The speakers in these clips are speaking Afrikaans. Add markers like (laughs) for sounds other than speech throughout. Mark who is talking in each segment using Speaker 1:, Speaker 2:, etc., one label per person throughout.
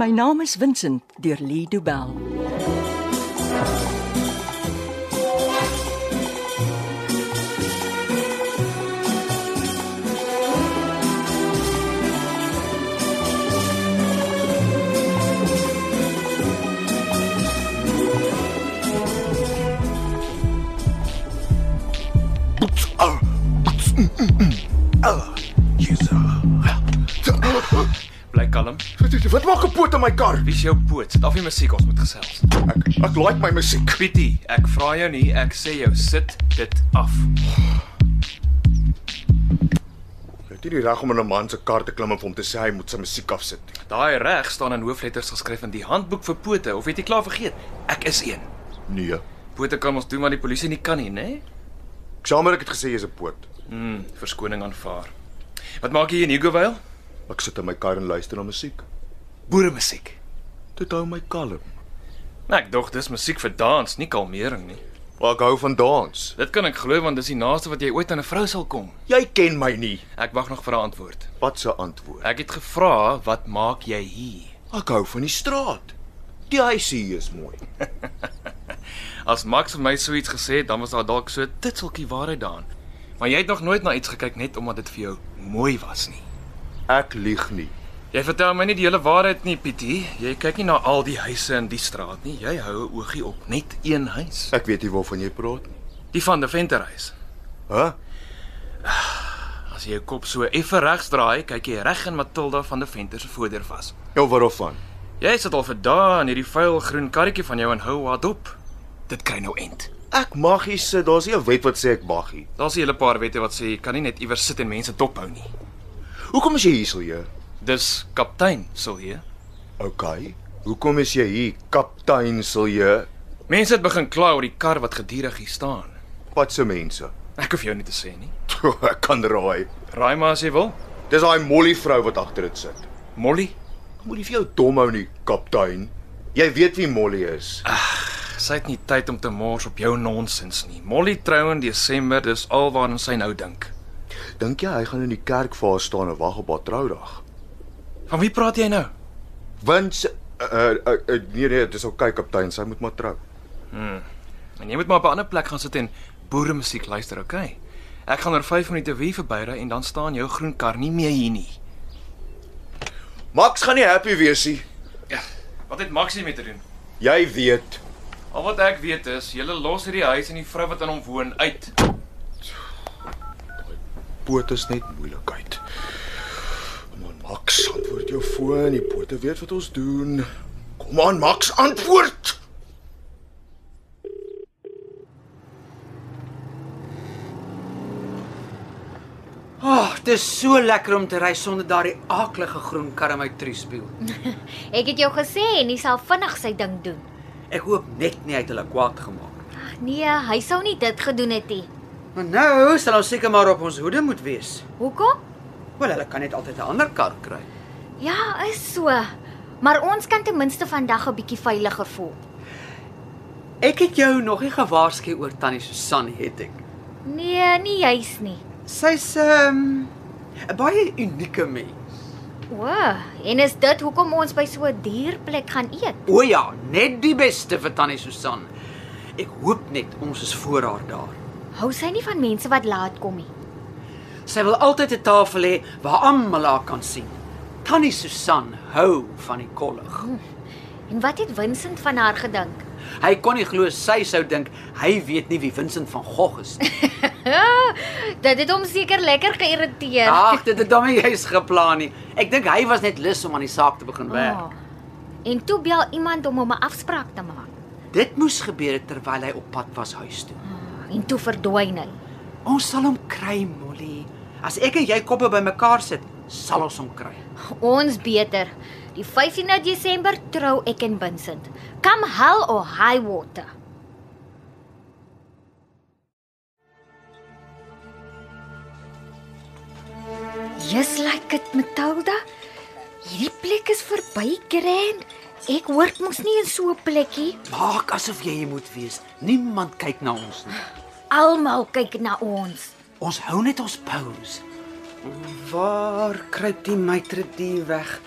Speaker 1: My naam is Vincent deur Lee Du Bell.
Speaker 2: Jesus.
Speaker 3: Bly kalm.
Speaker 2: Wat maak 'n poot aan my kar?
Speaker 3: Wie is jou poot? Sit af die musiek, ons moet gesels.
Speaker 2: Ek ek like my musiek.
Speaker 3: Pietie, ek vra jou nie, ek sê jou sit dit af.
Speaker 2: Jy het nie die reg om in 'n man se kar te klim en vir hom te sê hy moet sy musiek afsit nie.
Speaker 3: Daai reg staan in hoofletters geskryf in die handboek vir pote, of het jy klaar vergeet? Ek is een.
Speaker 2: Nee.
Speaker 3: Pote kan ons doen wat die polisie nie kan nie, né?
Speaker 2: Ek sê maar ek het gesê jy's 'n poot.
Speaker 3: Hmm, verskoning aanvaar. Wat maak jy hier in Hugovale?
Speaker 2: Ek sit in my kar en luister na musiek.
Speaker 3: Boere musiek.
Speaker 2: Dit hou my kalm.
Speaker 3: Nou, ek dog dis musiek vir dans, nie kalmering nie.
Speaker 2: Maar ek hou van dans.
Speaker 3: Dit kan ek glo want dis die naaste wat jy ooit aan 'n vrou sal kom.
Speaker 2: Jy ken my nie.
Speaker 3: Ek wag nog vir 'n antwoord.
Speaker 2: Wat 'n antwoord.
Speaker 3: Ek het gevra, "Wat maak jy hier?"
Speaker 2: Ek hou van die straat. Die huisie hier is mooi.
Speaker 3: As Max vir my so iets gesê het, dan was daar dalk so 'n titseltjie waarheid daarin. Maar jy het nog nooit na iets gekyk net omdat dit vir jou mooi was nie.
Speaker 2: Ek lieg nie.
Speaker 3: Jy vertel my nie die hele waarheid nie, Pietie. Jy kyk nie na al die huise in die straat nie. Jy hou 'n oogie op net een huis,
Speaker 2: Ek weet nie waarvan jy praat nie.
Speaker 3: die van die Venterhuis.
Speaker 2: Hæ?
Speaker 3: As jy jou kop so effe regs draai, kyk jy reg in Matilda van die Venter se voordeur vas.
Speaker 2: Jou waarvan?
Speaker 3: Jy sit al vir dae in hierdie vuil groen karretjie van jou en hou haar dop. Dit kry nou end.
Speaker 2: Ek mag hier sit. Daar's nie 'n wet wat sê ek mag nie.
Speaker 3: Daar's 'n hele paar wette wat sê jy kan nie net iewers sit en mense dop hou nie.
Speaker 2: Hoekom is jy hier so jy?
Speaker 3: Dis kaptein, Silje.
Speaker 2: OK. Hoekom is jy hier, kaptein Silje?
Speaker 3: Mense het begin kla oor die kar wat gedurig hier staan.
Speaker 2: Wat se mense? (laughs)
Speaker 3: Ek hoef jou nie te sê nie.
Speaker 2: ek kan raai.
Speaker 3: Raai maar as jy wil.
Speaker 2: Dis daai Molly vrou wat agter dit sit.
Speaker 3: Molly,
Speaker 2: Moenie vir jou dom hou nie, kaptein. Jy weet wie Molly is.
Speaker 3: sy het nie tyd om te mors op jou nonsens nie. Molly trou in Desember, dis alwaaraan sy nou dink.
Speaker 2: Dink jy hy gaan in die kerk vir haar staan en wag op haar troudag?
Speaker 3: Van wie praat jy nou?
Speaker 2: Wins uh, uh, uh, nee nee, dis OK kaptein, sy moet maar trou.
Speaker 3: En jy moet maar op 'n ander plek gaan sit en boere musiek luister, okay? Ek gaan oor 5 minute weer verbyry en dan staan jou groen kar nie meer hier nie.
Speaker 2: Max gaan nie happy wees nie.
Speaker 3: Ja, wat het Maxie mee te doen?
Speaker 2: Jy weet.
Speaker 3: Al wat ek weet is, jy los hierdie huis en die vrou wat aan hom woon uit.
Speaker 2: Poot is net moeilikheid. Man Max, antwoord jou foon, die pote weet wat ons doen. Kom aan Max, antwoord.
Speaker 4: Ag, oh, dis so lekker om te ry sonder daardie aaklige groen kar in my triespieël.
Speaker 5: Ek het jou gesê en hy sal vinnig sy ding doen.
Speaker 4: Ek hoop net nie hy het hulle kwaad gemaak nie.
Speaker 5: Nee, hy sou nie dit gedoen het nie.
Speaker 4: Maar nou sal ons seker maar op ons hoede moet wees.
Speaker 5: Hoekom?
Speaker 4: Wel, hulle kan net altyd 'n ander kar kry.
Speaker 5: Ja, is so. Maar ons kan ten minste vandag 'n bietjie veiliger voel.
Speaker 4: Ek het jou nog nie gewaarsku oor tannie Susan het ek.
Speaker 5: Nee, nie juis nie.
Speaker 4: Sy's ehm um, 'n baie unieke mens.
Speaker 5: O, en is dit hoekom ons by so 'n duur plek gaan eet?
Speaker 4: O ja, net die beste vir tannie Susan. Ek hoop net ons is voor haar daar.
Speaker 5: Hou sy nie van mense wat laat kom nie.
Speaker 4: Sy wil altyd 'n tafel hê waar almal haar kan sien. Tannie Susan hou van die kollig.
Speaker 5: En wat het Vincent van haar gedink?
Speaker 4: Hy kon nie glo sy sou dink hy weet nie wie Vincent van Gogh is nie.
Speaker 5: Dit het hom seker lekker geïrriteer.
Speaker 4: Ag, dit het hom nie juis geplan nie. Ek dink hy was net lus om aan die saak te begin werk.
Speaker 5: Ah. En toe bel iemand om hom 'n afspraak te maak.
Speaker 4: Dit moes gebeur het terwyl hy op pad was huis toe.
Speaker 5: En toe verdwyn hy.
Speaker 4: Ons sal hom kry, Molly. As ek en jy koppe bymekaar sit, sal ons hom kry.
Speaker 5: Ons beter. Die 15de Desember trou ek en Vincent. Come hell or high water. Yes, like it, Matilda. Hierdie plek is verby grand. Ek hoort mos nie in so 'n plekkie.
Speaker 4: Maak asof jy hier moet wees. Niemand kyk na ons nie.
Speaker 5: Almal kyk na ons.
Speaker 4: Ons hou net ons pose. Waar kruip die meitredie weg?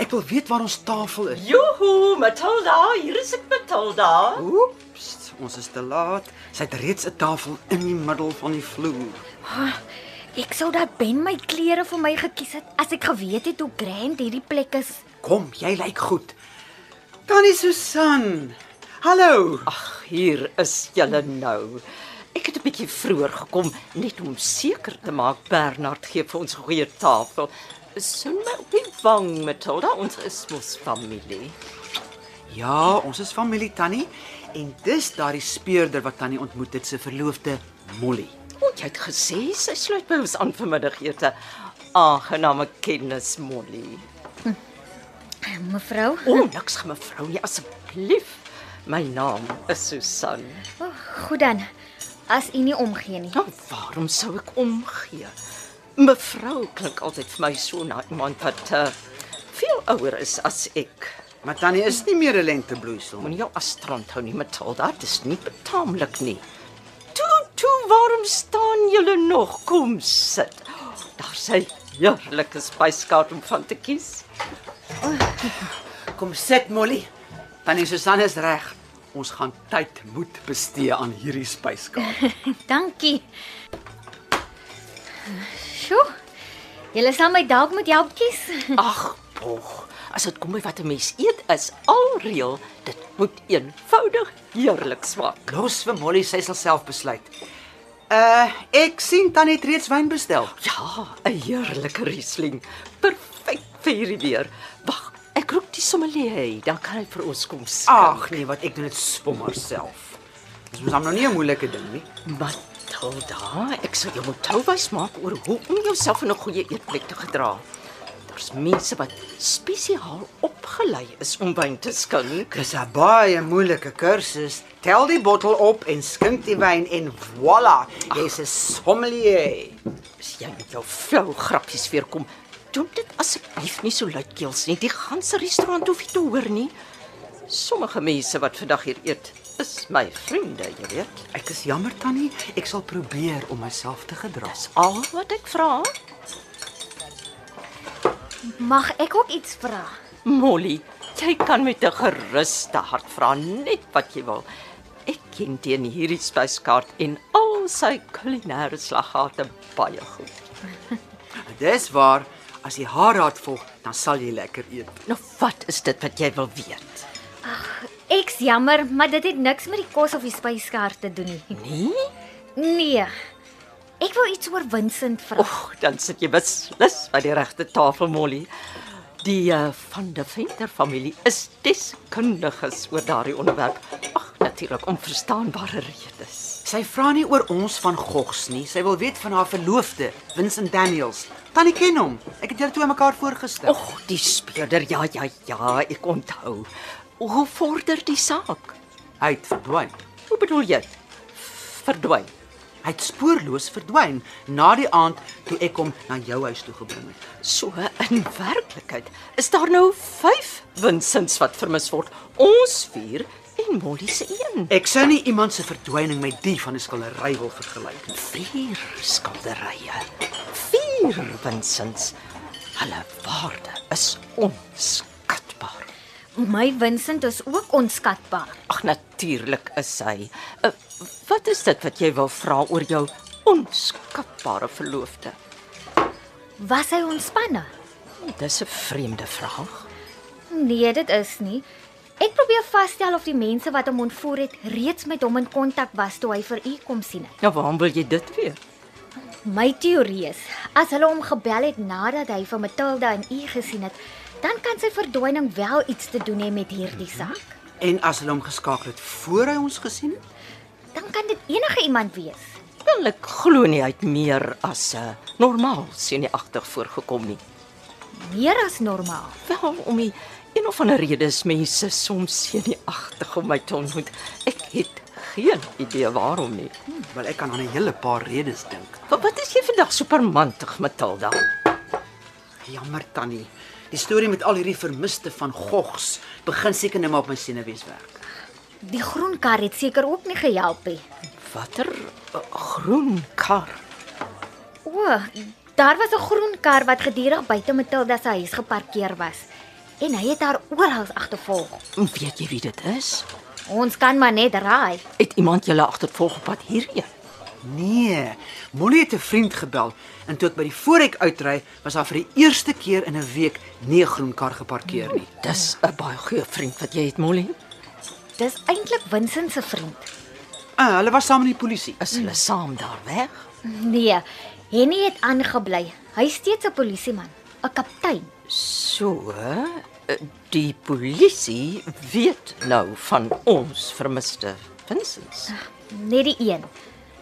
Speaker 4: Ek wil weet waar ons tafel is.
Speaker 6: Joho, Matilda, hier is ek Matilda.
Speaker 4: Oeps, ons is te laat. Sy het reeds 'n tafel in die middel van die vloer.
Speaker 5: Ek sou dat Ben my klere vir my gekies het as ek geweet het hoe grand hierdie plek is.
Speaker 4: Kom, jy lyk goed. Tannie Susan. Hallo.
Speaker 6: Ag, hier is julle nou. Ek het 'n bietjie vroeër gekom net om seker te maak Bernard gee vir ons 'n goeie tafel. Soen my op die wang, Matilda, ons is mos familie.
Speaker 4: Ja, ons is familie Tannie en dis daardie speurder wat Tannie ontmoet het se verloofde Molly.
Speaker 6: O, jy het gesê sy sluit by ons aan vir middagete. Aangename kennis, Molly.
Speaker 5: Mevrou,
Speaker 6: O, niks mevrou nie asseblief. My naam is Susan.
Speaker 5: oh, goed dan. As u nie omgee nie.
Speaker 6: Nou, waarom sou ek omgee? Mevrou klink altyd vir my so na iemand wat uh, veel ouer is as ek.
Speaker 4: Maar Tannie is nie meer 'n lentebloeisel nie.
Speaker 6: Moenie jou afstrand hou nie, Matilda, dit is nie betaamlik nie. Toe, toe, waarom staan julle nog? Kom sit. Daar's 'n heerlike spyskaart om van te kies.
Speaker 4: Kom sit Molly. Tannie Susan is reg. Ons gaan tyd moet bestee aan hierdie spyskaart.
Speaker 5: Dankie. Sjoe. Julle sal my dalk moet help kies.
Speaker 6: Ag, bog. As dit kom by wat 'n mens eet is al reël, dit moet eenvoudig heerlik smaak.
Speaker 4: Los vir Molly, sy sal self besluit. Uh, ek sien Tannie het reeds wyn bestel.
Speaker 6: Ja, 'n heerlike Riesling. Perfek vir hierdie weer. Wag, ek roep die sommelier, dan kan hy vir ons kom skink.
Speaker 4: Ag nee, wat ek doen dit spommer self. Dis mos nou nie 'n moeilike ding nie.
Speaker 6: Matilda, ek sou jou moet touwys maak oor hoe om jouself in 'n goeie eetplek te gedra. Daar's mense wat spesiaal opgelei is om wyn te skink.
Speaker 4: Dis 'n baie moeilike kursus. Tel die bottel op en skink die wyn en voilà, jy's 'n sommelier.
Speaker 6: As jy met jou flou grappies weer kom, doen dit asseblief nie so luidkeels nie. Die ganse restaurant hoef nie te hoor nie. Sommige mense wat vandag hier eet, is my vriende, jy weet.
Speaker 4: Ek is jammer tannie, ek sal probeer om myself te gedra.
Speaker 6: Dis al wat ek vra.
Speaker 5: Mag ek ook iets vra?
Speaker 6: Molly, jy kan met 'n geruste hart vra net wat jy wil. Ek ken teen hierdie spyskaart en al sy kulinaire slaggate baie goed.
Speaker 4: Dis waar, as jy haar raad volg, dan sal jy lekker eet.
Speaker 6: Nou wat is dit wat jy wil weet?
Speaker 5: Ek's jammer, maar dit het niks met die kos of die spyskaart te doen nie.
Speaker 6: Nee?
Speaker 5: Nee. Ek wou iets oor Vincent vra.
Speaker 6: Och, dan sit jy beslis by die regte tafel, Molly. Die uh, van die Venter familie is deskundiges oor daardie onderwerp. Ag, natuurlik om verstaanbare redes.
Speaker 4: Sy vra nie oor ons van Gogs nie, sy wil weet van haar verloofde, Vincent Daniels. Tannie ken hom. Ek het julle twee mekaar voorgestel.
Speaker 6: Och, die speurder. Ja, ja, ja, ek onthou. Hoe vorder die saak?
Speaker 4: hy het verdwyn.
Speaker 6: Hoe bedoel jy? Verdwyn.
Speaker 4: Hy het spoorloos verdwyn na die aand toe ek hom na jou huis toe gebring het.
Speaker 6: So in werklikheid is daar nou 5 winsins wat vermis word. Ons 4 en Molly se 1.
Speaker 4: Ek sou nie iemand se verdwyning met die van 'n skildery wil vergelyk nie.
Speaker 6: 4 skilderye. 4 winsins. Hulle waarde is onskatbaar.
Speaker 5: My Vincent is ook onskatbaar.
Speaker 6: Ag natuurlik is hy. Uh, wat is dit wat jy wil vra oor jou onskatbare verloofde?
Speaker 5: Was hy ontspanne?
Speaker 6: Dis 'n vreemde vraag.
Speaker 5: Nee, dit is nie. Ek probeer vasstel of die mense wat hom ontvoer het reeds met hom in kontak was toe hy vir u kom sien het.
Speaker 6: Nou waarom wil jy dit weet?
Speaker 5: My teorie is, as hulle hom gebel het nadat hy vir Matilda en u gesien het, dan kan sy verdwyning wel iets te doen hê met hierdie saak.
Speaker 4: En as hulle hom geskakel het voor hy ons gesien het,
Speaker 5: Dan kan dit enige iemand wees.
Speaker 6: Wel ek glo nie hy het meer as 'n uh, normaal senuagtig voorgekom nie.
Speaker 5: Meer as normaal.
Speaker 6: Wel om die een of ander rede is mense soms senuagtig om my te ontmoet. Ek het geen idee waarom nie.
Speaker 4: wel ek kan aan 'n hele paar redes dink.
Speaker 6: Wat wat is jy vandag supermantig, Matilda?
Speaker 4: Jammer tannie. Die storie met al hierdie vermiste van Gogs begin seker net maar op my senuwees werk.
Speaker 5: Die groen kar het seker ook nie gehelp nie.
Speaker 6: Watter uh, groen kar?
Speaker 5: O, daar was 'n groen kar wat gedurig buite Matilda se huis geparkeer was. en hy het haar oral agtervolg.
Speaker 6: Weet jy wie dit is?
Speaker 5: Ons kan maar net raai.
Speaker 6: Het iemand julle agtervolg op pad hierheen?
Speaker 4: Nee, Molly het 'n vriend gebel en toe ek by die voorhek uitry, was daar vir die eerste keer in 'n week nie 'n groen kar geparkeer nie.
Speaker 6: Dis 'n baie goeie vriend wat jy het, Molly.
Speaker 5: Dis eintlik Vincent se vriend.
Speaker 4: Ah, hulle was saam met die polisie.
Speaker 6: Is hulle saam daar weg?
Speaker 5: Nee, Henny het aangebly. Hy's steeds 'n polisieman, 'n kaptein.
Speaker 6: So, eh, die polisie weet nou van ons vermiste Vincent.
Speaker 5: Net die een.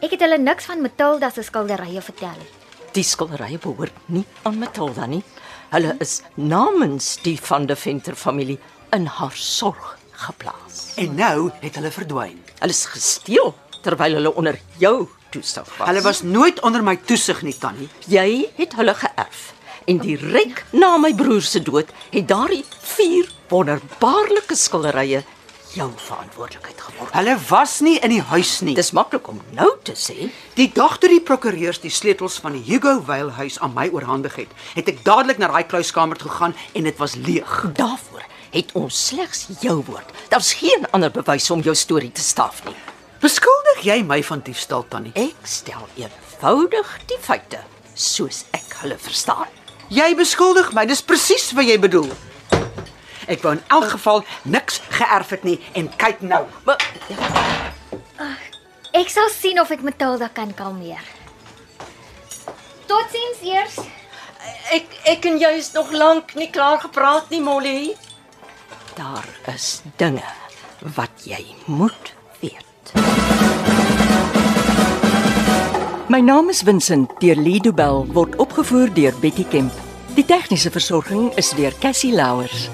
Speaker 5: Ek het hulle niks van Matilda se skilderye vertel nie.
Speaker 6: Die skilderye behoort nie aan Matilda nie. Hulle is namens die van de Venter familie in haar sorg geplaas.
Speaker 4: En nou het hulle verdwyn.
Speaker 6: Hulle is gesteel terwyl hulle onder jou toesig was.
Speaker 4: Hulle was nooit onder my toesig nie, Tannie.
Speaker 6: jy het hulle geërf. En direk na my broer se dood het daardie vier wonderbaarlike skilderye jou verantwoordelikheid geword.
Speaker 4: Hulle was nie in die huis nie.
Speaker 6: Dis maklik om nou te sê,
Speaker 4: Die dag toe die prokureurs die sleutels van die Hugo Weil huis aan my oorhandig het, het ek dadelik na daai kluiskamer toe gegaan en dit was leeg.
Speaker 6: daarvoor het ons slegs jou woord. Daar's geen ander bewys om jou storie te staaf nie.
Speaker 4: Beskuldig jy my van diefstal tannie?
Speaker 6: Ek stel eenvoudig die feite soos ek hulle verstaan.
Speaker 4: Jy beskuldig my, dis presies wat jy bedoel. Ek wou in elk geval niks geërf het nie en kyk nou.
Speaker 6: Maar
Speaker 5: Ek sal sien of ek Matilda kan kalmeer. Totsiens eers.
Speaker 6: ek ek en jy is nog lank nie klaar gepraat nie, Molly. Daar is dinge wat jy moet weet.
Speaker 1: My naam is Vincent deur Lido Bell word opgevoer deur Betty Kemp. Die tegniese versorging is deur Cassie Louers.